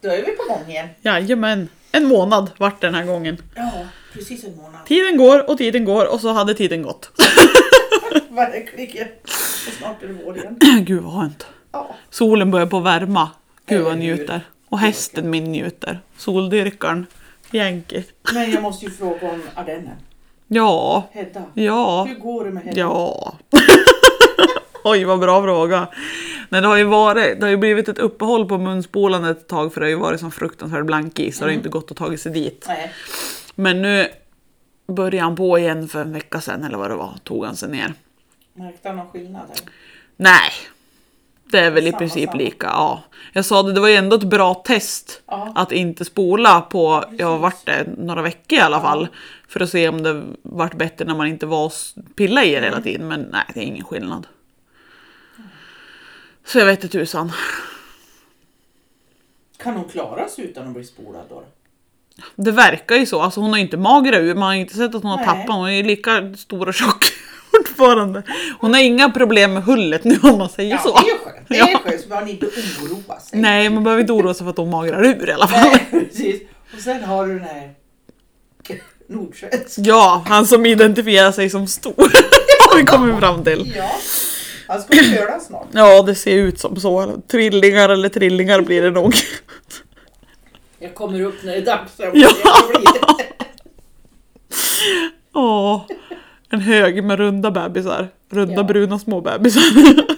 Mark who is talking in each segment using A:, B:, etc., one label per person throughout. A: Då är vi på gång igen.
B: Jajamän. En månad vart den här gången.
A: Ja, precis en månad.
B: Tiden går och tiden går och så hade tiden gått.
A: Verkligen. Och snart är det vår igen.
B: Gud vad skönt.
A: Ja.
B: Solen börjar på värma. Gud vad jag
A: Eller hur?
B: njuter. Och hästen min njuter. Soldyrkaren. Yankee.
A: Men jag måste ju fråga om Ardennen.
B: Ja.
A: Hedda,
B: Ja.
A: hur går det med Hedda?
B: Ja. Oj vad bra fråga. Nej, det, har ju varit, det har ju blivit ett uppehåll på munspolandet ett tag för det har ju varit som fruktansvärd blankis så det har inte gått att ta sig dit.
A: Nej.
B: Men nu började han på igen för en vecka sedan eller vad det var, tog han sig ner.
A: Märkte han någon skillnad? Där?
B: Nej, det är väl i
A: Samma,
B: princip
A: samma.
B: lika. Ja. Jag sa det, det var ju ändå ett bra test
A: Ja.
B: att inte spola på, jag har
A: Precis.
B: varit det några veckor i alla fall, för att se om det vart bättre när man inte var och s- pilla i det
A: Mm.
B: hela tiden. Men nej, det är ingen skillnad. Så jag vet inte tusan.
A: Kan hon klara sig utan att bli spolad då?
B: Det verkar ju så. Alltså hon har ju inte magrat ur, man har ju inte sett att hon har
A: Nej.
B: tappat. Hon är ju lika stor och tjock fortfarande. Hon har inga problem med hullet nu om man säger
A: Ja,
B: så.
A: det är ju skönt. Det är
B: Ja.
A: skönt så man inte oroar sig.
B: Nej, man behöver inte oroa sig för att hon magrar ur i alla fall.
A: Nej, precis. Och sen har du den här Nordsjöns.
B: Ja, han som identifierar sig som stor. Har vi kommit fram till.
A: Ja, han ska ju köra snart.
B: Ja, det ser ut som så. Trillingar eller trillingar blir det nog.
A: Jag kommer upp när det är dags. Jag
B: Ja.
A: blir-
B: Ja, en hög med runda bebisar. Runda
A: Ja.
B: bruna små bebisar.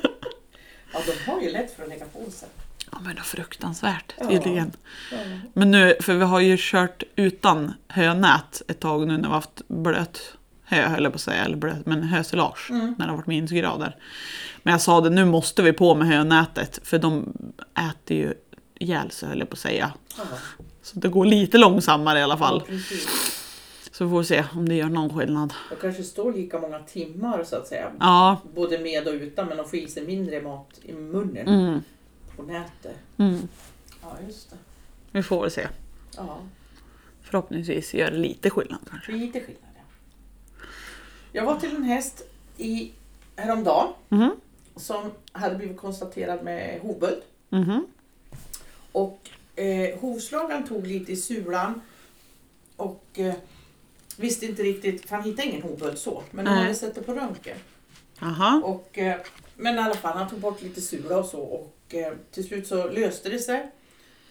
A: Ja, de har ju lätt för att lägga på sig.
B: Ja, men det är fruktansvärt
A: Ja.
B: tydligen. Men nu, för vi har ju kört utan hönät ett tag nu när vi har haft blöt hö, höll jag på att säga, eller blöt, men hösilage
A: Mm.
B: när det har varit minusgrader. Men jag sa det, nu måste vi på med hönätet för de äter ju ihjäl sig höll jag på att säga.
A: Ja,
B: Så det går lite långsammare i alla fall.
A: ja, precis.
B: Så vi får se om det gör någon skillnad.
A: De kanske står lika många timmar så att säga.
B: Ja,
A: Både med och utan men de får i sig mindre mat i munnen
B: mm,
A: på nätet.
B: mm.
A: Ja just det.
B: vi får väl se.
A: Ja,
B: Förhoppningsvis gör det lite skillnad kanske.
A: lite skillnad ja. Jag var till en häst i, häromdagen
B: Mhm,
A: som hade blivit konstaterad med hovböld.
B: mhm,
A: Och eh, hovslagaren tog lite i sulan och eh, visste inte riktigt, för han hittade ingen hovböld så. Men han
B: Nej.
A: hade sett det på röntgen.
B: Aha.
A: Och, eh, men i alla fall, han tog bort lite sura och så och eh, till slut så löste det sig.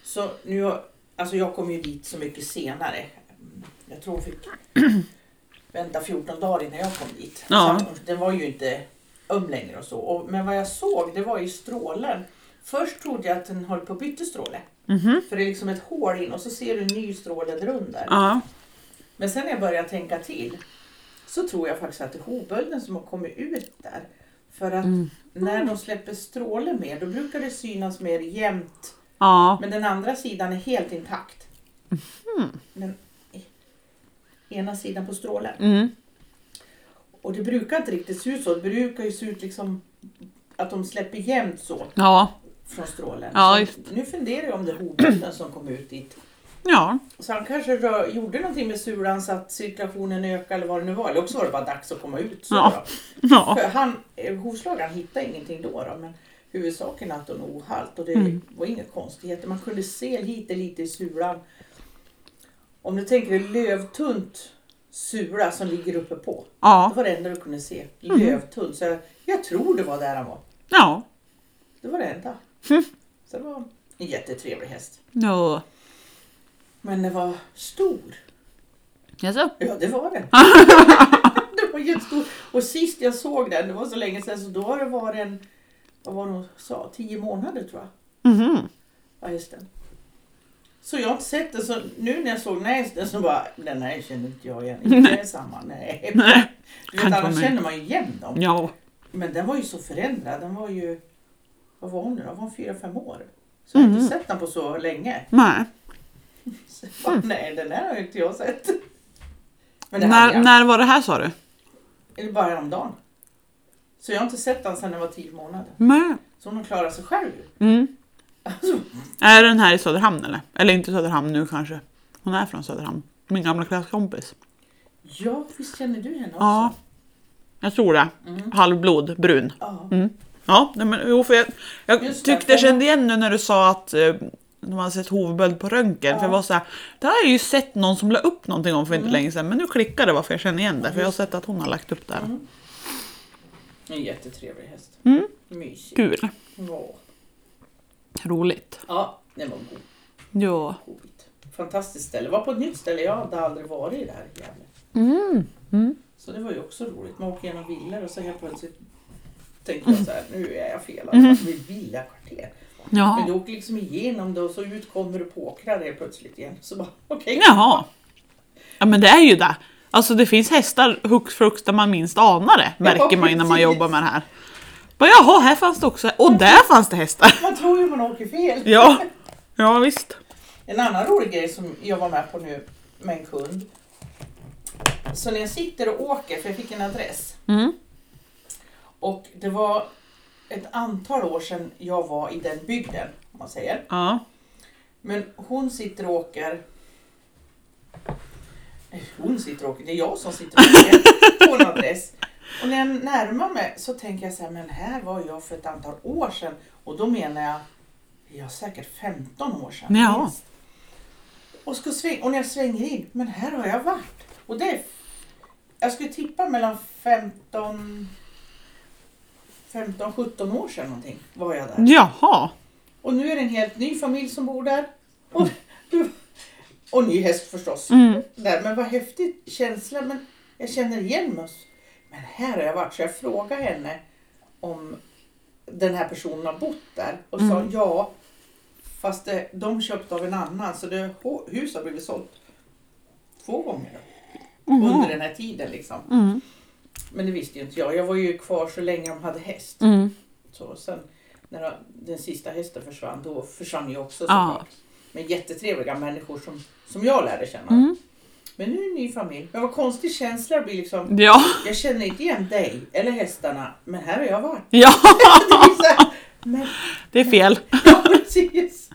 A: Så nu, har- alltså jag kom ju dit så mycket senare. Jag tror jag fick vänta 14 dagar innan jag kom dit.
B: Ja.
A: Så att den var ju inte öm längre och så. Och, men vad jag såg det var ju strålen. Först trodde jag att den höll på att byta stråle.
B: Mhm.
A: För det är liksom ett hål in och så ser du en ny stråle där under.
B: Ja.
A: Men sen när jag började tänka till så tror jag faktiskt att det är hovbölden som har kommit ut där. För att
B: Mm.
A: när de släpper stråle mer då brukar det synas mer jämnt.
B: Ja.
A: Men den andra sidan är helt intakt.
B: Mhm.
A: Den ena sidan på strålen.
B: Mm.
A: Och det brukar inte riktigt se ut så. Det brukar ju se ut liksom att de släpper jämnt så
B: Ja.
A: från strålen.
B: Ja,
A: Så
B: just.
A: nu funderar jag om det är hovbölden som kom ut dit.
B: Ja.
A: Så han kanske rör, gjorde någonting med sulan så att cirkulationen ökade eller vad det nu var. Eller också var det bara dags att komma ut. Så
B: Ja.
A: då.
B: Ja.
A: För han, eh, hovslagaren hittade ingenting då, då men huvudsaken är att hon är ohalt och det
B: Mm.
A: var inga konstigheter. Man kunde se lite, lite i sulan. Om du tänker dig lövtunt sula som ligger uppe på. Det
B: Ja. Mm.
A: var det enda du kunde se. Lövtunt. Så jag, jag tror det var där han var.
B: Ja.
A: Det var det enda.
B: Mm.
A: Så det var en jättetrevlig häst.
B: Ja.
A: Men den var stor.
B: Jaså?
A: Ja, det var den. det var jättestor. Och sist jag såg den, det var så länge sedan, så då har det varit en, vad var det hon sa, tio månader tror jag.
B: Mhm.
A: Ja, just den. Så jag har inte sett den, så nu när jag såg den här hästen så bara, den här känner inte jag igen. Inte är samma, nej.
B: Nej.
A: Du
B: Kan
A: vet,
B: inte
A: annars
B: vara mig.
A: känner man ju igen dem.
B: Ja.
A: Men den var ju så förändrad, den var ju, vad var hon nu då? Var hon fyra, fem år? Så jag har
B: Mm.
A: inte sett den på så länge.
B: Nej.
A: Så jag bara, nej, den här har ju inte jag sett. Men det hade
B: När,
A: jag.
B: när var det här sa du?
A: Eller bara häromdagen. Så jag har inte sett den sedan den var tio månader.
B: Nej.
A: Så hon har klarat sig själv.
B: Mm.
A: Alltså,
B: Är den här i Söderhamn eller? Eller inte Söderhamn nu kanske. Hon är från Söderhamn. Min gamla klasskompis.
A: ja, visst känner du henne också? Mm.
B: Ja. Jag tror det. Halvblod, brun.
A: Ja.
B: Ja, nej men jo, för jag, jag
A: Just det,
B: tyckte jag
A: för-
B: kände igen nu när du sa att eh, de hade sett hovböld på röntgen. För jag var så här, det här har jag ju sett någon som la upp någonting om för
A: Mm.
B: inte länge sedan. Men nu klickar det bara för jag känner igen det. För jag har sett att hon har lagt upp det
A: Mm.
B: här.
A: En jättetrevlig häst.
B: Mm.
A: Mysig.
B: Kul.
A: Ja.
B: Roligt.
A: ja, den var god.
B: Ja.
A: Covid. Fantastiskt ställe. Var på ett nytt ställe. Jag hade aldrig varit där i Gävle.
B: Mm. Mm.
A: Så det var ju också roligt. Man åker genom villor och så helt plötsligt tänkte jag så här, nu är jag fel.
B: Mm.
A: Alltså, det är villakvarter. Men du
B: Jaha.
A: åker liksom igenom det och så ut kommer du på åkrar helt plötsligt igen. Så bara, okej.
B: Jaha. Ja men det är ju det. Alltså det finns hästar hux flux där man minst anar det. Märker man ju när man
A: precis.
B: jobbar med det här. Bara, Jaha, här fanns det också. Och där fanns det hästar.
A: Man tror ju man åker fel.
B: Ja. Ja visst.
A: En annan rolig grej som jag var med på nu med en kund. Så när jag sitter och åker, för jag fick en adress.
B: Mm.
A: Och det var ett antal år sedan jag var i den bygden, om man säger.
B: Ja.
A: Men hon sitter och åker... Nej, Hon sitter och åker, det är jag som sitter och åker på en adress. Och när jag närmar mig så tänker jag så här, men här var jag för ett antal år sedan. Och då menar jag, ja säkert 15 år sedan.
B: Ja.
A: minst. Och, ska sväng, och när jag svänger in, men här har jag varit. Och det är, jag skulle tippa mellan 15, 15, 17 år sedan någonting var jag där.
B: Jaha.
A: Och nu är det en helt ny familj som bor där. Och, och ny häst förstås.
B: Mm.
A: Där. Men vad häftigt känsla. Men jag känner igen mig. Men här har jag varit. Så jag frågade henne om den här personen har bott där. Och sa ja. Fast det, de köpte av en annan. Så det ho- hus har blivit sålt. Två gånger. då, Under den här tiden liksom.
B: Mm.
A: Men det visste ju inte jag. Jag var ju kvar så länge de hade häst.
B: Mm.
A: Så sen när den sista hästen försvann, då försvann jag också
B: Ja.
A: såklart. Men jättetrevliga människor som, som jag lärde känna.
B: Mm.
A: Men nu är det en ny familj. Men vad konstig känsla det blir liksom.
B: Ja.
A: Jag känner inte igen dig eller hästarna, men här har jag varit.
B: Ja.
A: Det är så här, men
B: Det är fel.
A: ja, precis.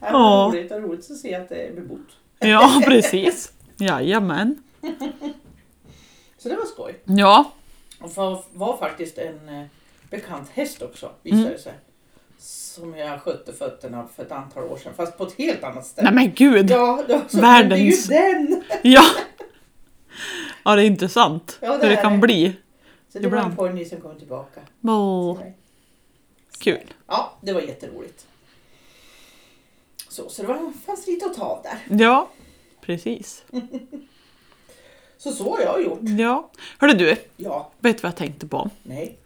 A: Ja,
B: Ja.
A: Vad roligt, vad roligt att se att det är bebott.
B: Ja precis. Jajamän.
A: Så det var skoj.
B: Ja.
A: Och var, var faktiskt en eh, bekant häst också, visade det
B: Mm.
A: sig. Som jag skötte fötterna för ett antal år sedan, fast på ett helt annat ställe.
B: Nej men gud.
A: Ja, det var så,
B: Världens-
A: det är ju den!
B: Ja. Ja det är intressant.
A: Ja, det
B: Hur det
A: är
B: kan
A: det.
B: bli.
A: Så det var
B: Ibland.
A: en pojny som kom tillbaka.
B: Åh, kul.
A: Ja, det var jätteroligt. Så, så det var, fanns lite att ta av där.
B: Ja. Precis.
A: Så så har jag gjort.
B: Ja. Hörru du.
A: Ja,
B: Vet du vad jag tänkte på?
A: nej.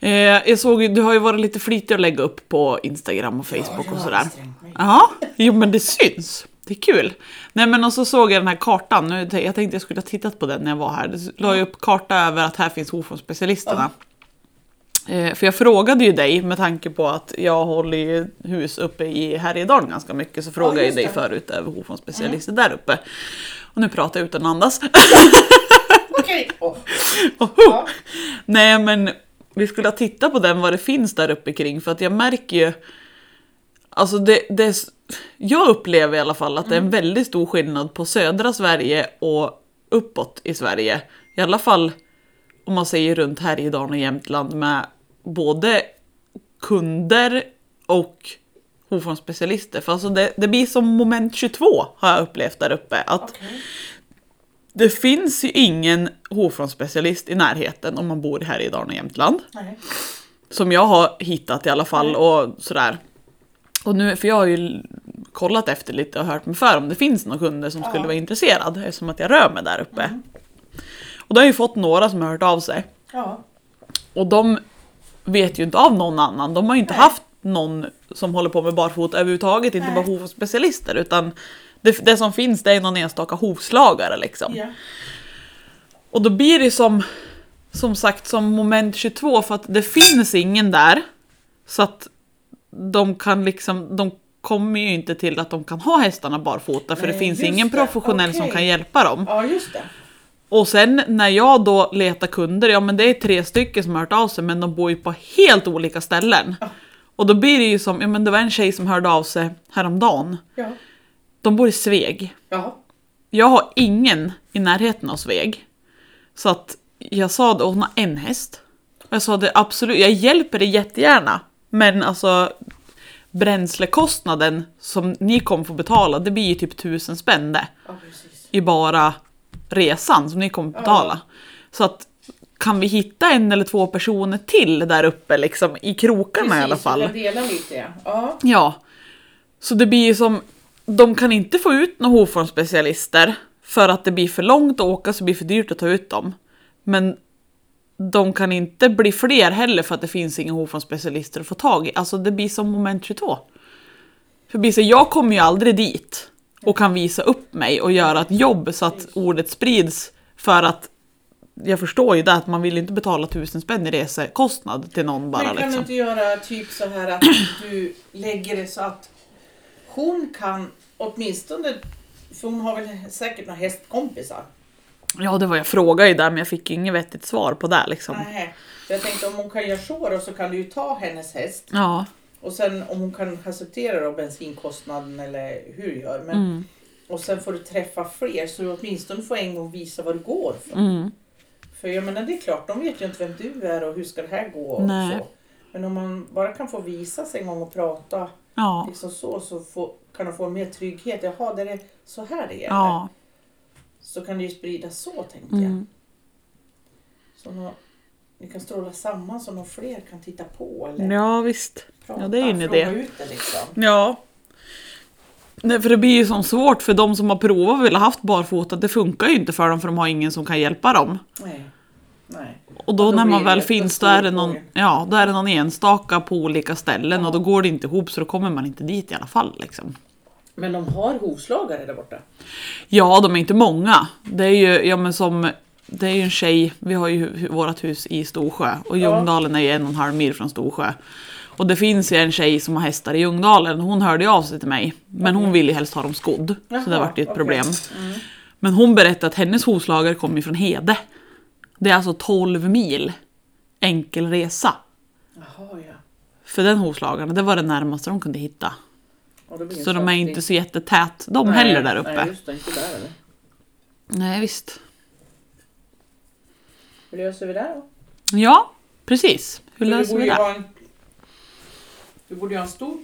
B: Eh, jag såg ju- du har ju varit lite flitig att lägga upp på Instagram och Facebook
A: ja, jag
B: och
A: har
B: sådär.
A: ansträngt mig.
B: Ja, jo men det syns. Det är kul. Nej men och så såg jag den här kartan, Nu t- jag tänkte jag skulle ha tittat på den när jag var här. Det la jag upp karta över att här finns Hofors-specialisterna. Eh, för jag frågade ju dig med tanke på att jag håller ju hus uppe i Härjedalen ganska mycket. Så frågade jag
A: just
B: dig
A: det. Mm.
B: förut över Hofors-specialister där uppe. Och nu pratar jag utan att andas.
A: Okej. Åh,
B: Oho!
A: ja.
B: Nej men vi skulle ha tittat på den vad det finns där uppe kring för att jag märker ju Alltså det, det är, s- jag upplever i alla fall att det är en väldigt stor skillnad på södra Sverige och uppåt i Sverige. I alla fall om man säger runt Härjedalen och Jämtland med både kunder och Hofonsspecialister. För alltså det, det blir som moment 22 har jag upplevt där uppe. Att
A: Okej.
B: det finns ju ingen hårfrånspecialist i närheten om man bor här i Dalarna och Jämtland.
A: Nej.
B: Som jag har hittat i alla
A: Mm.
B: fall och sådär. Och nu, för jag har ju l- kollat efter lite och hört mig för om det finns några kunder som skulle
A: Ja. Mm.
B: vara intresserad eftersom att jag rör mig där uppe. Och då har jag ju fått några som har hört av sig.
A: Ja.
B: Och de vet ju inte av någon annan. De har ju inte
A: Nej.
B: haft någon som håller på med barfota överhuvudtaget, inte
A: Nej.
B: bara hovspecialister utan det, det som finns det är någon enstaka hovslagare liksom.
A: ja.
B: Och då blir det som, som sagt som moment 22 för att det finns ingen där. Så att de kan liksom, de kommer ju inte till att de kan ha hästarna barfota för det
A: Nej,
B: finns
A: just
B: ingen
A: det.
B: professionell som
A: Okej.
B: kan hjälpa dem.
A: Ja, just det.
B: Och sen när jag då letar kunder, ja men det är tre stycken som har hört av sig men de bor ju på helt olika ställen. Och då blir det ju som, ja men det var en tjej som hörde av sig häromdagen.
A: Ja.
B: De bor i Sveg.
A: Ja.
B: Jag har ingen i närheten av Sveg. Så att jag sa det, och hon har en häst. Och jag sa det absolut, jag hjälper dig jättegärna. Men alltså, bränslekostnaden som ni kommer få betala, det blir ju typ tusen spänn det.
A: Ja, precis.
B: i bara resan som ni kommer att betala. Så att kan vi hitta en eller två personer till där uppe liksom i krokarna i alla
A: Precis, vi
B: fall.
A: kan dela lite ja. ja.
B: Ja. Så det blir ju som, de kan inte få ut några hovformsspecialister för att det blir för långt att åka så det blir för dyrt att ta ut dem. Men de kan inte bli fler heller för att det finns inga hovformsspecialister att få tag i. Alltså det blir som moment 22. För det blir så, jag kommer ju aldrig dit och kan visa upp mig och göra ett jobb så att ordet sprids för att jag förstår ju det att man vill inte betala tusen spänn i resekostnad till någon bara
A: Men kan du
B: liksom.
A: inte göra typ så här att du lägger det så att hon kan åtminstone, för hon har väl säkert några hästkompisar.
B: Ja, det var jag frågade ju där, men jag fick inget vettigt svar på det liksom.
A: Nej. Jag tänkte om hon kan göra så då så kan du ju ta hennes häst
B: Ja,
A: och sen om hon kan acceptera då bensinkostnaden eller hur du gör. Men,
B: mm,
A: Och sen får du träffa fler så du åtminstone får en gång visa vad du går för.
B: mm.
A: För jag menar det är klart, de vet ju inte vem du är och hur ska det här gå och
B: Nej.
A: så. Men om man bara kan få visa sig en gång och prata
B: ja,
A: liksom så, så få, kan de få mer trygghet. Jaha, det är så här det gäller.
B: ja,
A: Så kan det ju spridas så tänkte jag.
B: mm.
A: Så nå- ni kan stråla samman så någon fler kan titta på eller
B: ja visst.
A: prata.
B: det är ju en
A: fråga
B: idé.
A: ut det liksom.
B: Ja. Nej, för det blir ju som svårt för de som har provat och vill ha haft barfota, det funkar ju inte för dem för de har ingen som kan hjälpa dem.
A: Nej. Nej.
B: Och då,
A: Ja, då
B: när man
A: blir det
B: väl
A: ett
B: finns då
A: stort
B: är, det någon,
A: problem.
B: ja, då är det någon enstaka på olika ställen
A: Ja.
B: och då går det inte ihop så då kommer man inte dit i alla fall. Liksom.
A: Men de har hovslagare där borta.
B: Ja, de är inte många. Det är ju, ja, men som, det är ju en tjej, vi har ju hu- vårt hus i Storsjö och
A: Ja.
B: Ljungdalen är ju en och en halv mil från Storsjö. Och det finns ju en tjej som har hästar i Ljungdalen, hon hörde ju av sig till mig. Men hon ville ju helst ha dem skodd, så det
A: Jaha,
B: vart ju ett
A: okej.
B: problem.
A: Mm.
B: Men hon berättade att hennes hovslagare kommer ju från Hede. Det är alltså 12 mil enkel resa
A: Jaha ja.
B: för den hovslagaren. Det var det närmaste de kunde hitta.
A: Och då blir det
B: Så
A: en
B: de är
A: fattig-
B: inte så jättetät de
A: Nej,
B: heller där uppe.
A: Nej,
B: Nej,
A: just det, inte där eller?
B: visst.
A: Hur löser vi det då?
B: Ja, precis. Hur
A: För
B: löser
A: borde
B: vi
A: ju
B: det?
A: ha en- Vi borde ju ha en stor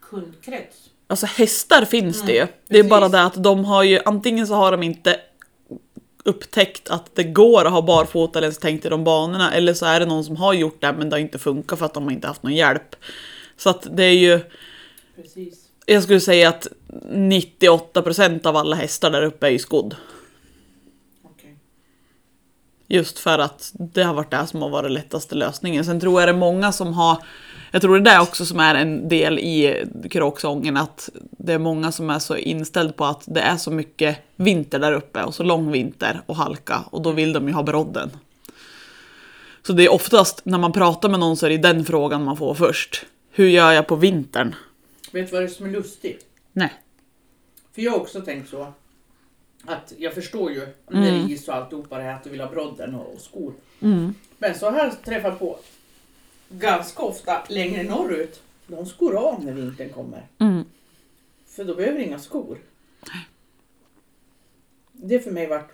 A: kundkrets.
B: Alltså hästar finns det ju. Det är
A: precis.
B: bara det att de har ju antingen så har de inte upptäckt att det går att ha barfota eller ens tänkt i de banorna eller så är det någon som har gjort det men det har inte funkat för att de har inte haft någon hjälp. Så att det är ju,
A: Precis.
B: jag skulle säga att 98% av alla hästar där uppe är ju skodd.
A: Okej.
B: Just för att det har varit det som har varit lättaste lösningen. Sen tror jag det är många som har, jag tror det är det också som är en del i kråksången, att det är många som är så inställd på att det är så mycket vinter där uppe och så lång vinter och halka och då vill de ju ha brodden. Så det är oftast när man pratar med någon så är det den frågan man får först. Hur gör jag på vintern?
A: Vet du vad det är som är lustigt?
B: Nej.
A: För jag har också tänkt så. Att jag förstår ju när det är is och alltihopa det här att du vill ha brodden och, och skor.
B: Mm.
A: Men så har jag träffat på ganska ofta längre norrut. De skor av när vintern kommer.
B: Mm.
A: För då behöver du inga skor. Det för mig vart...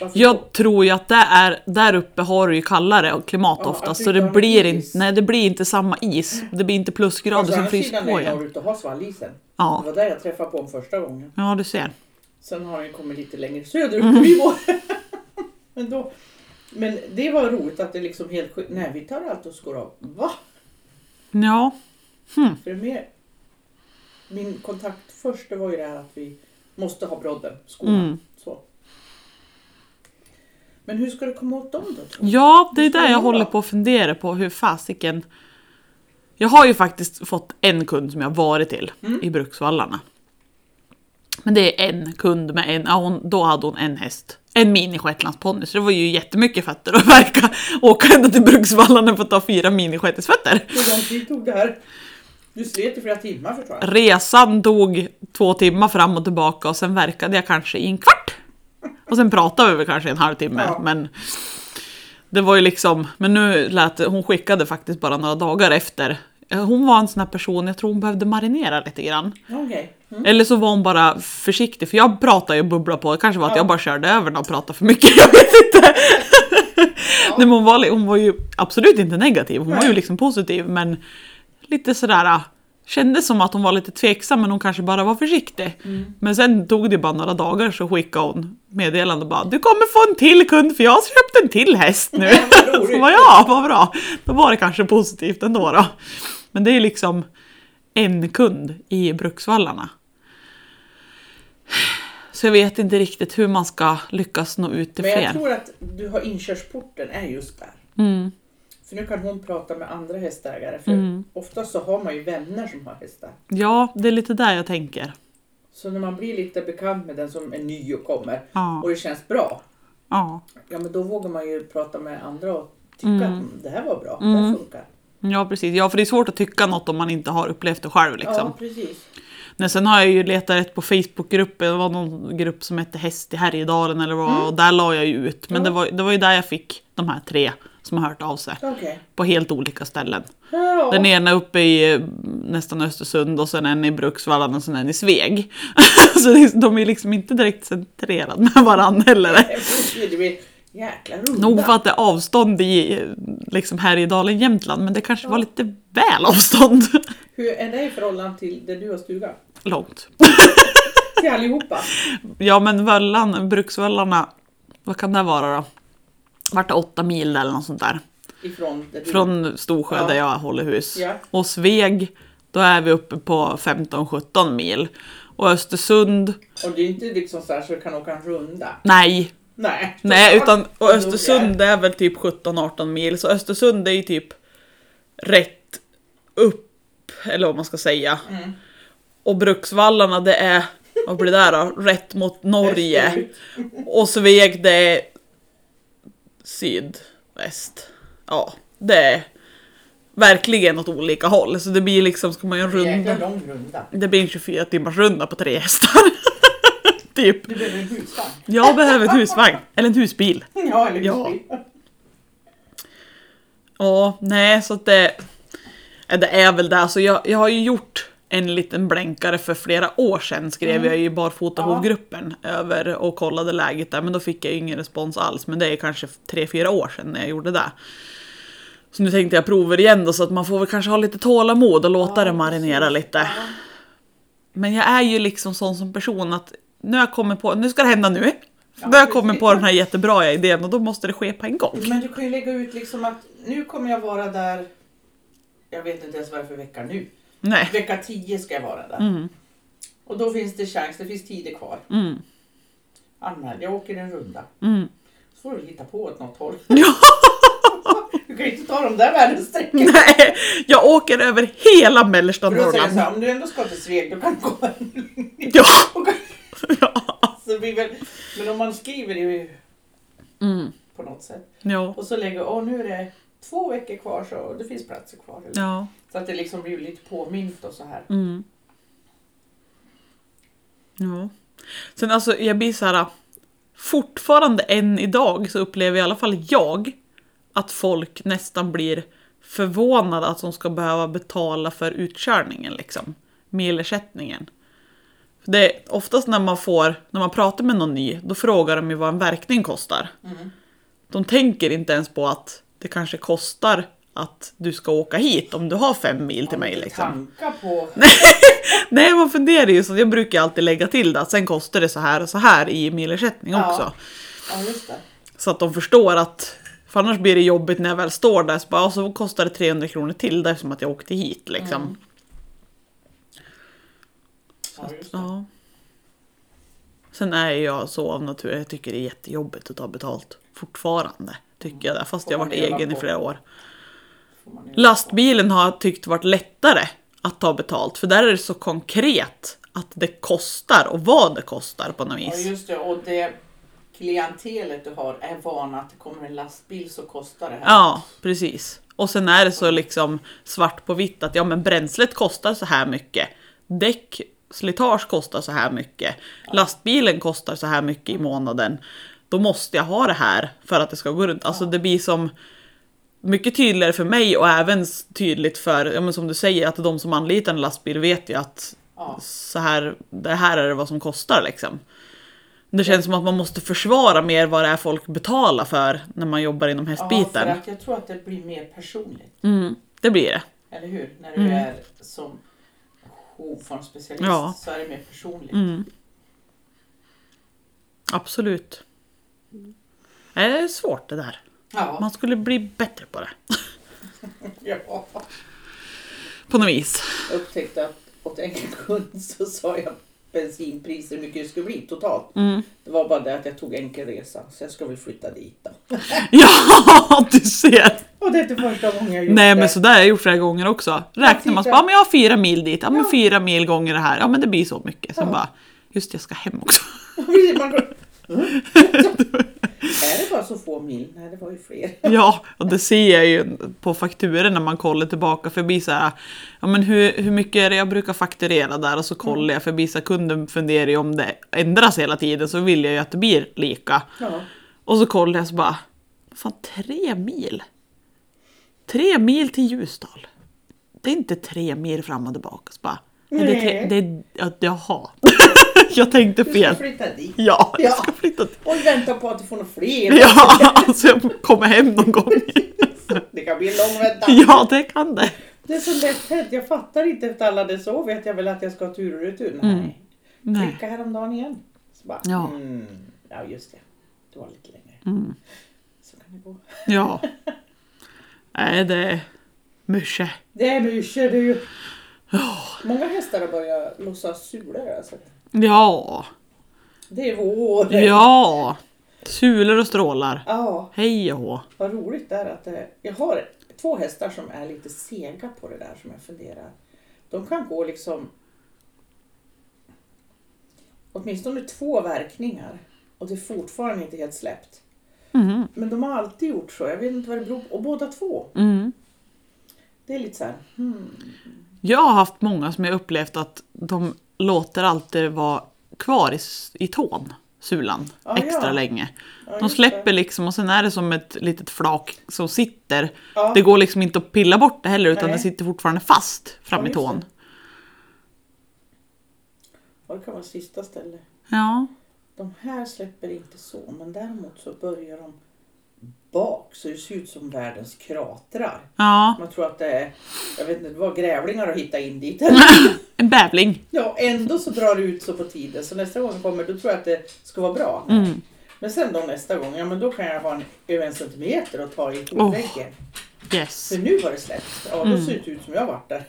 A: varför då?
B: Jag tror ju att det är, där uppe har du ju kallare och klimat
A: Ja, att
B: oftast
A: du
B: så
A: inte
B: det
A: har någon
B: blir,
A: is.
B: inte, nej, det blir inte samma is. Det blir inte plusgrader
A: Fast å Alltså,
B: som
A: andra
B: fryser
A: sidan
B: på
A: är jag
B: igen.
A: norrut och har svallisen. Det
B: Ja.
A: var där jag träffade på honom första gången.
B: ja, du ser.
A: Sen har han ju kommit lite längre
B: Mm.
A: söderut. vi var. men, då, men det var roligt att det liksom helt sjukt. Nej, vi tar allt och skor av. Va?
B: Ja,
A: För det är mer... Min kontakt först det var ju det här att vi måste ha brodden, skorna.
B: Mm.
A: Så. Men hur ska du komma åt dem då? tror du?
B: ja det är
A: Hur ska
B: där
A: jag
B: jag
A: göra?
B: håller på att fundera på hur fasiken... Jag har ju faktiskt fått en kund som jag varit till
A: Mm.
B: i Bruksvallarna. Men det är en kund med en, ja, hon, då hade hon en häst. En mini shetlandsponny, så det var ju jättemycket fötter att verka. Åka ända till Bruksvallarna för att ta fyra mini shetlandsfötter.
A: Hur lång tid tog det här? Du slet i flera timmar förstår jag.
B: Resan tog två timmar fram och tillbaka och sen verkade jag kanske i en kvart. Och sen pratade vi väl kanske i en halvtimme.
A: Ja.
B: Men det var ju liksom, men nu lät det, hon skickade faktiskt bara några dagar efter. Eh, Hon var en sån här person, jag tror hon behövde marinera lite grann.
A: Okej. Mm.
B: Eller så var hon bara försiktig, för jag pratade ju och bubblade på. Det kanske var att
A: Ja.
B: jag bara körde över henne och pratade för mycket, jag vet inte. Nej, men hon, var, li- hon var ju absolut inte negativ, hon var ju
A: Nej.
B: liksom positiv men lite sådär, ah, kändes som att hon var lite tveksam men hon kanske bara var försiktig. Men sen tog det bara några dagar så skickade hon meddelande och bara du kommer få en till kund för jag har köpt en till häst nu.
A: Vad roligt.
B: så bara, ja, Alltså, vad bra. Då var det kanske positivt ändå då. Men det är ju liksom en kund i Bruksvallarna. Så jag vet inte riktigt hur man ska lyckas nå ut till
A: Men jag
B: fler.
A: tror att du har inkörsporten är just där.
B: Mm.
A: För nu kan hon prata med andra hästägare. För ofta så har man ju vänner som har hästar.
B: Ja, det är lite där jag tänker.
A: Så när man blir lite bekant med den som är ny och kommer
B: Ja,
A: och det känns bra.
B: ja.
A: Ja men då vågar man ju prata med andra och tycka
B: Mm.
A: att "Mm, det här var bra, det här funkar.
B: ja precis. Ja, för det är svårt att tycka något om man inte har upplevt det själv. Liksom.
A: Ja precis.
B: Men sen har jag ju letat rätt på Facebookgruppen, det var någon grupp som hette Häst i Härjedalen eller vad, och där la jag ju ut. Men
A: Mm. Ja.
B: det, var, det var ju där jag fick de här tre som har hört av sig.
A: Okej.
B: På helt olika ställen.
A: Ja.
B: Den ena uppe i eh, nästan Östersund och sen en i Bruksvallarna och sen en i Sveg. Så det- de är liksom inte direkt centrerade med varandra heller.
A: Det blir jäkla runda.
B: Nog för att det är avstånd i eh, liksom Härjedalen, Jämtland, men det kanske var lite väl avstånd.
A: Hur är det i förhållande till det du har stuga?
B: Långt.
A: Till allihopa?
B: Ja men Völlan, Bruksvöllarna, vad kan det vara då? Vart det åtta mil eller något sånt där.
A: Ifrån det du...
B: Från Storsjö
A: Ja.
B: där jag håller hus.
A: Ja.
B: Och Sveg, då är vi uppe på 15-17 mil. Och Östersund,
A: Och det är inte liksom så här så du kan åka en runda.
B: nej.
A: Nej.
B: Nej, utan och
A: Nog
B: Östersund det är väl typ 17-18 mil. Så Östersund är ju typ rätt upp, eller vad man ska säga.
A: Mm.
B: Och Bruksvallarna det är, vad blir det då? Rätt mot Norge.
A: Österut.
B: Och Sveg det är sydväst. Ja, det är verkligen åt olika håll. Så det blir liksom, ska man göra en
A: Jäkla
B: runda.
A: lång runda.
B: Det blir en 24 timmars runda på tre hästar. typ.
A: Du behöver en husvagn.
B: Jag behöver en husvagn, eller en husbil.
A: Ja, eller
B: Ja.
A: husbil.
B: Ja, nej så att det... ja, Det är väl det. Alltså jag, jag har ju gjort en liten blänkare för flera år sedan skrev jag ju i barfota
A: Mm. Ja.
B: hovgruppen över och kollade läget där men då fick jag ju ingen respons alls men det är kanske 3-4 år sedan när jag gjorde det. Så nu tänkte jag prova det igen då så att man får väl kanske ha lite tålamod och låta
A: Ja,
B: det marinera
A: precis.
B: lite. Men jag är ju liksom sån som person att nu har jag kommit på, nu ska det hända nu.
A: Ja,
B: nu har jag kommit på
A: precis.
B: den här jättebra idén och då måste det ske på en gång.
A: Men du kan ju lägga ut liksom att nu kommer jag vara där. Jag vet inte ens vad det är för vecka nu.
B: Nej.
A: Vecka 10 ska jag vara där.
B: Mm,
A: Och då finns det chans, det finns tider kvar.
B: mm,
A: Anmäl, jag åker en runda.
B: mm.
A: Så får du hitta på åt något håll.
B: Ja.
A: Du kan ju inte ta de där världens
B: Nej, jag åker över hela mellersta
A: För då säger jag så
B: Norrland.
A: här, om du ändå ska till Sveg, då kan du komma en
B: Ja,
A: Och kan-
B: ja.
A: så det blir väl, Men om man skriver det ju
B: Mm,
A: på något sätt.
B: ja.
A: Och så lägger åh nu är det två veckor kvar så det finns platser kvar.
B: Ja,
A: Så att det liksom blir lite påmint och så här.
B: mm. ja. Sen alltså, jag blir så här. Fortfarande än idag så upplever i alla fall jag att folk nästan blir förvånade att de ska behöva betala för utkörningen liksom. Milersättningen. För Det är oftast när man får, när man pratar med någon ny, då frågar de ju vad en verkning kostar.
A: Mm.
B: De tänker inte ens på att det kanske kostar att du ska åka hit om du har fem mil till mig. Liksom.
A: Tanka på...
B: Nej, man funderar ju så. Jag brukar ju alltid lägga till det att sen kostar det så här och så här i milersättning
A: Ja.
B: också.
A: Ja just det.
B: Så att de förstår att för annars blir det jobbigt när jag väl står där. Så, bara, ja, så kostar det 300 kronor till där som att jag åkte hit liksom.
A: Mm. Ja, just det.
B: Ja. Sen är jag så av natur, jag tycker det är jättejobbigt att ta betalt. Fortfarande tycker jag det, fast
A: Får
B: jag har
A: man
B: varit
A: leva
B: egen i
A: på.
B: flera år.
A: Får man ju-
B: Lastbilen har jag tyckt varit lättare att ta betalt för där är det så konkret att det kostar och vad det kostar på något
A: Ja
B: vis.
A: just det och det klientelet du har är vana att det kommer en lastbil så kostar det här.
B: Ja, precis. Och sen är det så liksom svart på vitt att ja men bränslet kostar så här mycket. Däck, slitage kostar så här mycket. Lastbilen kostar så här mycket i månaden. Då måste jag ha det här för att det ska gå runt. Alltså det blir som mycket tydligare för mig och även s- tydligt för, ja men som du säger, att de som anlitar en lastbil vet ju att
A: Ja.
B: så här, det här är vad som kostar liksom. Det känns som att man måste försvara mer vad det är folk betalar för när man jobbar inom
A: Ja,
B: hästbiten.
A: för att jag tror att det blir mer personligt.
B: Mm, det blir det.
A: Eller hur? När du
B: Mm.
A: är som jourformsspecialist
B: Ja.
A: så är det mer personligt.
B: Mm. Absolut. Det är svårt det där.
A: Ja.
B: Man skulle bli bättre på det.
A: ja.
B: På något vis.
A: Jag upptäckte att åt en kund så sa jag bensinpriser hur mycket det skulle bli totalt.
B: Mm.
A: Det var bara det att jag tog enkel resa så jag ska väl flytta dit då.
B: Ja, du ser!
A: Och det är inte första gången jag gjort
B: Nej
A: det.
B: men sådär har jag gjort flera gånger också. Räknar man så bara, ja, men jag har fyra mil dit, ja men fyra mil gånger det här, ja men det blir så mycket. Sen
A: Ja.
B: bara, just det, jag ska hem också.
A: Man går... är det bara så få mil? Nej det var ju fler.
B: Ja, och det ser jag ju på fakturen när man kollar tillbaka förbi så här, ja men hur, hur mycket är det jag brukar fakturera där och så kollar jag förbi så här, kunden funderar ju om det ändras hela tiden så vill jag ju att det blir lika.
A: Ja.
B: Och så kollar jag så bara, fan tre mil? Tre mil till Ljusdal? Det är inte tre mil fram och tillbaka. Så bara, nej. Det är tre,
A: Nej.
B: det är, ja, jaha. jag tänkte
A: Du ska
B: fel.
A: flytta dit.
B: Ja, jag
A: Ja.
B: ska flytta till...
A: Och vänta på att du får några fler.
B: Ja, alltså jag kommer hem någon gång.
A: Det kan bli en lång väntan.
B: Ja, det kan det.
A: Det är så lätt hänt. Jag fattar inte efter alla det så vet jag väl att jag ska ha tur och retur.
B: Mm.
A: Nej.
B: Nej.
A: Klicka häromdagen igen. Så bara,
B: Ja.
A: ja. Mm, ja just det. Det var lite längre.
B: Mm.
A: Så kan det gå.
B: Ja. Nej, det är mycket.
A: Det är mycket du. Många hästar har börjat lossa sulor alltså.
B: Ja,
A: Det är vår.
B: ja. Sulor och strålar.
A: ja.
B: Hej och hå.
A: Vad roligt det är att eh, jag har två hästar som är lite sega på det där som jag funderar. De kan gå liksom åtminstone två verkningar och det är fortfarande inte helt släppt.
B: Mm.
A: Men de har alltid gjort så, jag vet inte vad det beror på. Och båda två.
B: Mm.
A: Det är lite så här, hmm.
B: Jag har haft många som jag upplevt att de låter alltid vara kvar i, s- i tån, sulan,
A: Ah, Ja,
B: extra
A: ja.
B: länge.
A: Ja,
B: De
A: just
B: släpper
A: det.
B: liksom och sen är det som ett litet flak som sitter.
A: Ja.
B: Det går liksom inte att pilla bort det heller utan
A: Nej.
B: det sitter fortfarande fast fram
A: Ja,
B: i
A: just
B: tån.
A: det. Och det kan vara sista stället.
B: Ja.
A: De här släpper inte så, men däremot så börjar de bak så det ser ut som världens kratrar.
B: ja,
A: Man tror att det är, jag vet inte, det var grävlingar att hitta in dit. Eller?
B: en bävling.
A: Ja, ändå så drar det ut så på tiden. Så nästa gång jag kommer, då tror jag att det ska vara bra.
B: Mm.
A: Men sen då nästa gång, ja men då kan jag ha en över en centimeter och ta i
B: Oh.
A: fotväggen.
B: Yes.
A: För nu var det släppt. Ja, då
B: Mm.
A: ser det ut som jag varit där.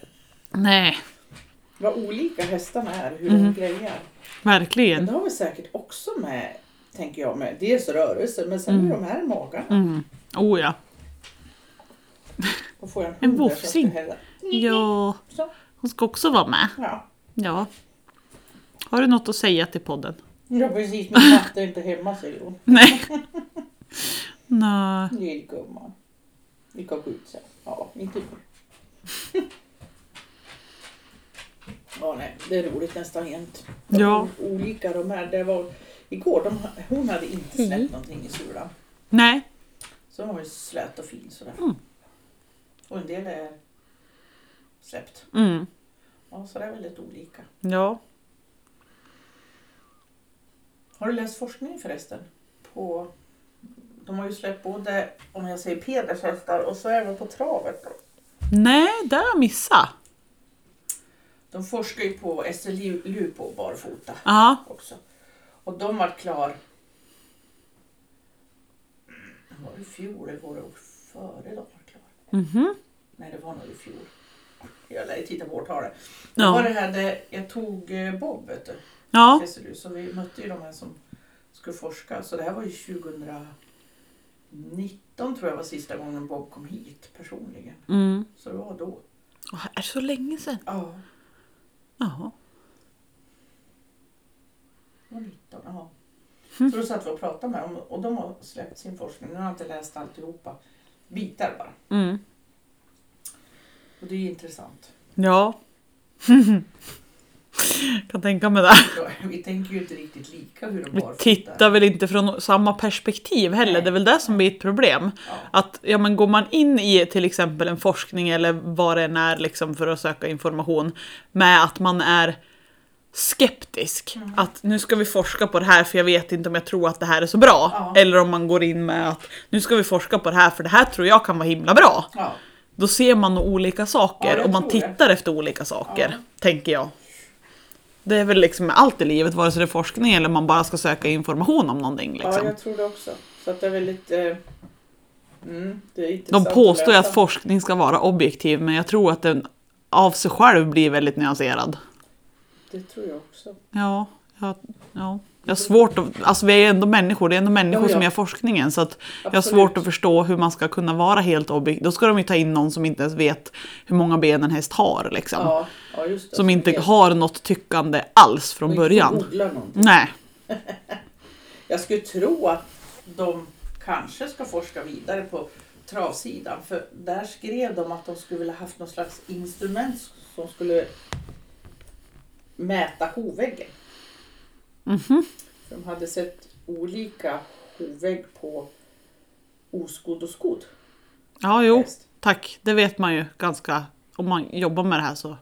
B: Nej,
A: Vad olika hästarna är, hur
B: Mm.
A: de grejar. Men
B: verkligen.
A: det har väl säkert också med, tänker jag, med dels rörelse, men sen hur de är i magen.
B: Mm. Oh ja.
A: Och får jag
B: En
A: hund där så ska
B: vofsing.
A: jag hälla.
B: Ja,
A: Så,
B: hon ska också vara med.
A: ja.
B: Ja. Har du något att säga till podden?
A: ja, precis. Min matte är inte hemma, säger hon.
B: Nej. Nej.
A: Lillgumman. Vi kan gå ut sen. Ja, inte nu. ja, nej, det är roligt nästan jämt. De
B: Ja.
A: är Olika de här. Det var, igår, de, hon hade inte släppt
B: Mm.
A: någonting i sulan.
B: Nej.
A: Så hon var ju slät och fin sådär.
B: Mm.
A: Och en del är släppt.
B: Mm.
A: Ja, så det är väldigt olika.
B: Ja.
A: Har du läst forskning förresten? På, de har ju släppt både, om jag säger pedershästar, och så även på travet.
B: Nej, där har jag missat.
A: De forskar ju på SLU Lupo barfota
B: Ja.
A: också. Och de var klar... mm, Var det i fjol eller var det året före de var klar?
B: Mhm.
A: Nej, det var nog i fjol. Jag lär ju titta på årtalet.
B: Ja.
A: Då var det här där jag tog eh, Bob, vet du,
B: Ja.
A: SLU. Så vi mötte ju de här som skulle forska. Så det här var ju 2019 tror jag var sista gången Bob kom hit personligen.
B: Mm.
A: Så det var då.
B: Åh, är det så länge sedan?
A: Ja,
B: Ja.
A: det var 19. Ja.
B: Hm.
A: Så då satt vi och pratade med dem och de har släppt sin forskning. Nu har jag inte läst alltihopa. Bitar bara.
B: Mm.
A: Och det är ju intressant.
B: Ja. kan tänka mig det.
A: Ja, Vi tänker ju inte riktigt lika hur de
B: Vi
A: barfota är.
B: tittar väl inte från samma perspektiv heller,
A: Nej.
B: det är väl det som blir ett problem.
A: Ja.
B: Att ja, men går man in i till exempel en forskning eller vad det än är liksom, för att söka information med att man är skeptisk.
A: Mm.
B: Att nu ska vi forska på det här för jag vet inte om jag tror att det här är så bra.
A: Ja.
B: Eller om man går in med att nu ska vi forska på det här för det här tror jag kan vara himla bra.
A: Ja.
B: Då ser man nog olika
A: Ja,
B: saker
A: jag
B: och man
A: tror det.
B: tittar efter olika saker,
A: Ja.
B: tänker jag. Det är väl liksom med allt i livet, vare sig det är forskning eller man bara ska söka information om någonting.
A: Ja,
B: Liksom.
A: jag tror det också. Så att det är väldigt... Eh, mm, det är
B: De
A: intressant
B: påstår ju
A: läsa.
B: att forskning ska vara objektiv, men jag tror att den av sig själv blir väldigt nyanserad.
A: Det tror jag också.
B: Ja, jag, ja. jag har svårt att... Alltså vi är ändå människor, det är ändå människor
A: Ja, ja.
B: som gör forskningen. Så att jag har
A: Absolut.
B: svårt att förstå hur man ska kunna vara helt objektiv. Då ska de ju ta in någon som inte ens vet hur många ben en häst har. Liksom.
A: Ja, ja, just det.
B: Som inte
A: Helt-
B: har något tyckande alls från
A: och
B: början.
A: Inte googlar någonting.
B: Nej.
A: Jag skulle tro att de kanske ska forska vidare på travsidan. För där skrev de att de skulle vilja haft någon slags instrument som skulle mäta hoväggen.
B: Mhm.
A: För de hade sett olika hovägg på oskodd och skodd
B: Ja, jo.
A: häst.
B: Tack. Det vet man ju ganska... Om man jobbar med det här så...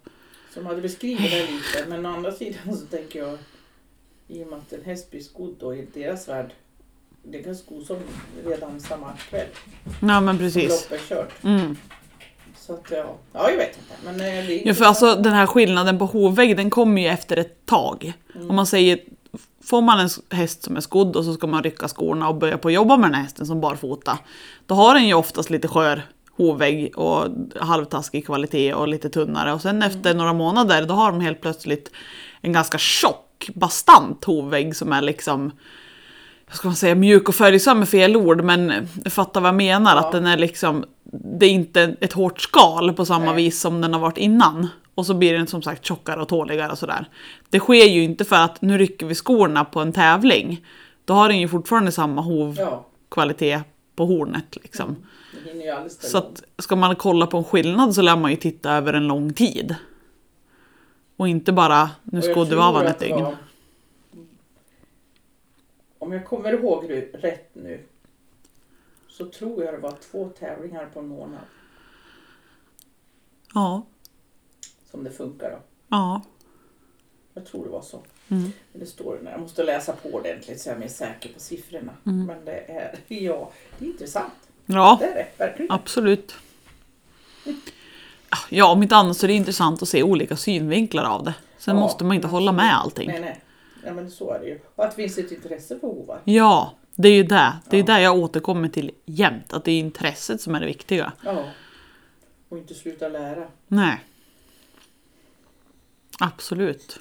A: Så de hade beskrivit det lite. Men å andra sidan så tänker jag i och med att en häst blir skodd då i deras värld. Det kan skos om redan samma kväll.
B: Nej, men precis.
A: Loppet är kört.
B: Mm.
A: Så att ja, ja jag vet inte. Men eh, det är
B: Ja, för alltså den här skillnaden på hovvägg den kommer ju efter ett tag. Om man säger, får man en s- häst som är skodd och så ska man rycka skorna och börja på att jobba med den här hästen som barfota. Då har den ju oftast lite skör hovvägg och halvtaskig kvalitet och lite tunnare. Och sen efter några månader då har de helt plötsligt en ganska tjock, bastant hovvägg som är liksom vad ska man säga, mjuk och följsam är fel ord men jag fattar vad jag menar.
A: Ja.
B: Att den är liksom, det är inte ett hårt skal på samma
A: Nej.
B: vis som den har varit innan. Och så blir den som sagt tjockare och tåligare och sådär. Det sker ju inte för att nu rycker vi skorna på en tävling. Då har den ju fortfarande samma
A: Ja,
B: hovkvalitet på hornet liksom.
A: det hinner ju aldrig ställa
B: Så
A: om.
B: att ska man kolla på en skillnad så lär man ju titta över en lång tid. Och inte bara,
A: Och
B: nu
A: jag
B: ska du
A: tror
B: vara
A: att
B: ett
A: det
B: dygn.
A: var- Om jag kommer ihåg ru- rätt nu så tror jag det var två tävlingar på en månad
B: Ja,
A: som det funkar då.
B: ja.
A: Jag tror det var så.
B: Mm.
A: Men det står det när. Jag måste läsa på ordentligt så jag är mer säker på siffrorna. Men det är, ja, det är intressant.
B: Mm. Ja.
A: Det är det, verkligen.
B: Absolut. Ja, om inte annat så är det intressant att se olika synvinklar av det. Sen
A: Ja,
B: måste man inte
A: absolut.
B: hålla med allting.
A: Nej, nej. Ja, men så är det ju. Och att det finns ett intresse för hovar.
B: Ja, det är ju det. Det är ju
A: Ja.
B: det jag återkommer till jämt. Att det är intresset som är det viktiga.
A: Ja. Och inte sluta lära.
B: Nej. Absolut.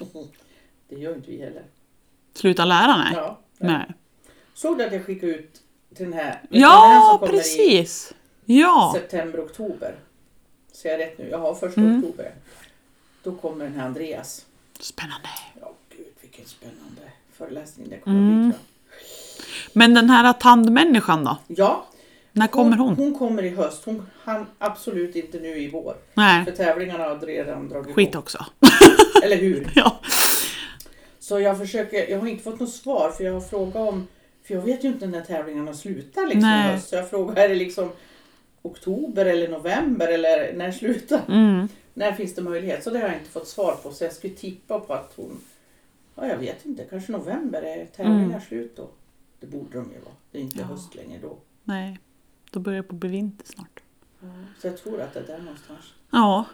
A: Det gör inte vi heller.
B: Sluta lära, nej.
A: Ja.
B: nej.
A: Såg du att jag skickade ut till den här? den här som
B: Ja,
A: kommer i
B: precis. Ja.
A: September, oktober. Ser jag rätt nu? Ja, första
B: Mm.
A: oktober. Då kommer den här Andreas.
B: Spännande.
A: Ja, gud vilken spännande föreläsning det kommer
B: Mm.
A: bli. tror
B: Men den här tandmänniskan då?
A: jag. Ja,
B: När kommer hon?
A: Hon kommer i höst. Hon hann absolut inte nu i vår. För
B: Nej,
A: tävlingarna har redan dragit
B: skit
A: igång.
B: också.
A: Eller hur?
B: Ja.
A: Så jag försöker, jag har inte fått något svar för jag har frågat om, för jag vet ju inte när tävlingarna slutar liksom i
B: Nej.
A: höst. Så jag frågar, är det liksom oktober eller november eller när slutar?
B: Mm.
A: När finns det möjlighet? Så det har jag inte fått svar på. Så jag skulle tippa på att hon... Ja, jag vet inte. Kanske november är tävlingar
B: Mm.
A: slut då. Det borde de ju vara. Det är inte
B: Ja.
A: höst längre då.
B: Nej, då börjar det på bevinter snart.
A: Så jag tror att det är där någonstans.
B: Ja.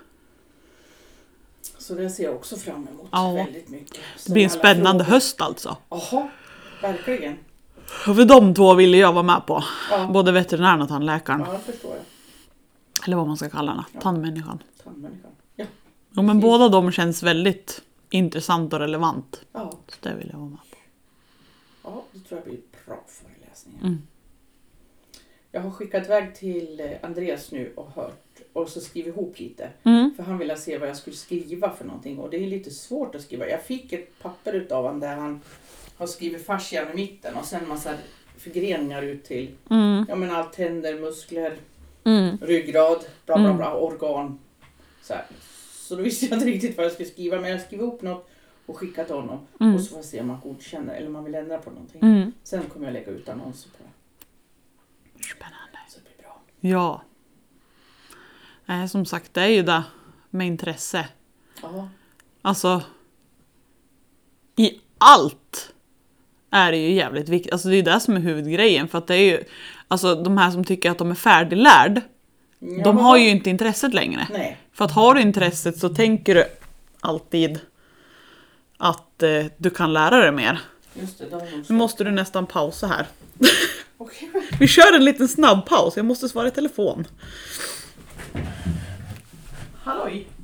A: Så det ser jag också fram emot
B: Ja.
A: väldigt mycket.
B: Det blir en
A: Alla
B: spännande höst alltså.
A: frågor. Jaha, verkligen.
B: För de två ville jag vara med på.
A: Ja,
B: Både veterinären och tandläkaren.
A: ja det förstår jag.
B: Eller vad man ska kalla henne.
A: Ja.
B: Tandmänniskan.
A: Tandmänniskan. Ja,
B: Jo, men
A: Precis.
B: båda de känns väldigt intressant och relevant.
A: ja.
B: Så det vill jag vara med på.
A: Ja, det tror jag blir bra föreläsningar.
B: Mm.
A: Jag har skickat iväg till eh, Andreas nu och hört och så skrivit ihop lite.
B: Mm.
A: För han ville se vad jag skulle skriva för någonting och det är lite svårt att skriva. Jag fick ett papper utav honom där han har skrivit fascian i mitten och sen massa förgreningar ut till,
B: Mm.
A: ja men allt tänder, muskler,
B: Mm.
A: ryggrad, bla bla
B: Mm.
A: bla, organ. Så, här. så då visste jag inte riktigt vad jag skulle skriva men jag skrev ihop något och skickat till honom.
B: Mm.
A: Och så får jag se om han godkänner eller om han vill ändra på någonting.
B: Mm.
A: Sen kommer jag lägga ut annonser på det.
B: Spännande.
A: Så det blir bra.
B: Ja. Nej, som sagt, det är ju det med intresse.
A: Ja,
B: Alltså. I allt är det ju jävligt viktigt. Alltså det är ju det som är huvudgrejen. För att det är ju, alltså de här som tycker att de är färdiglärd De har ju inte intresset längre.
A: Nej.
B: För att har du intresset så tänker du alltid att eh, du kan lära dig mer.
A: Just det, de har
B: Nu
A: nog-
B: måste du nästan pausa här.
A: Okej.
B: Vi kör en liten snabb paus, jag måste svara i telefon.
A: Halloj!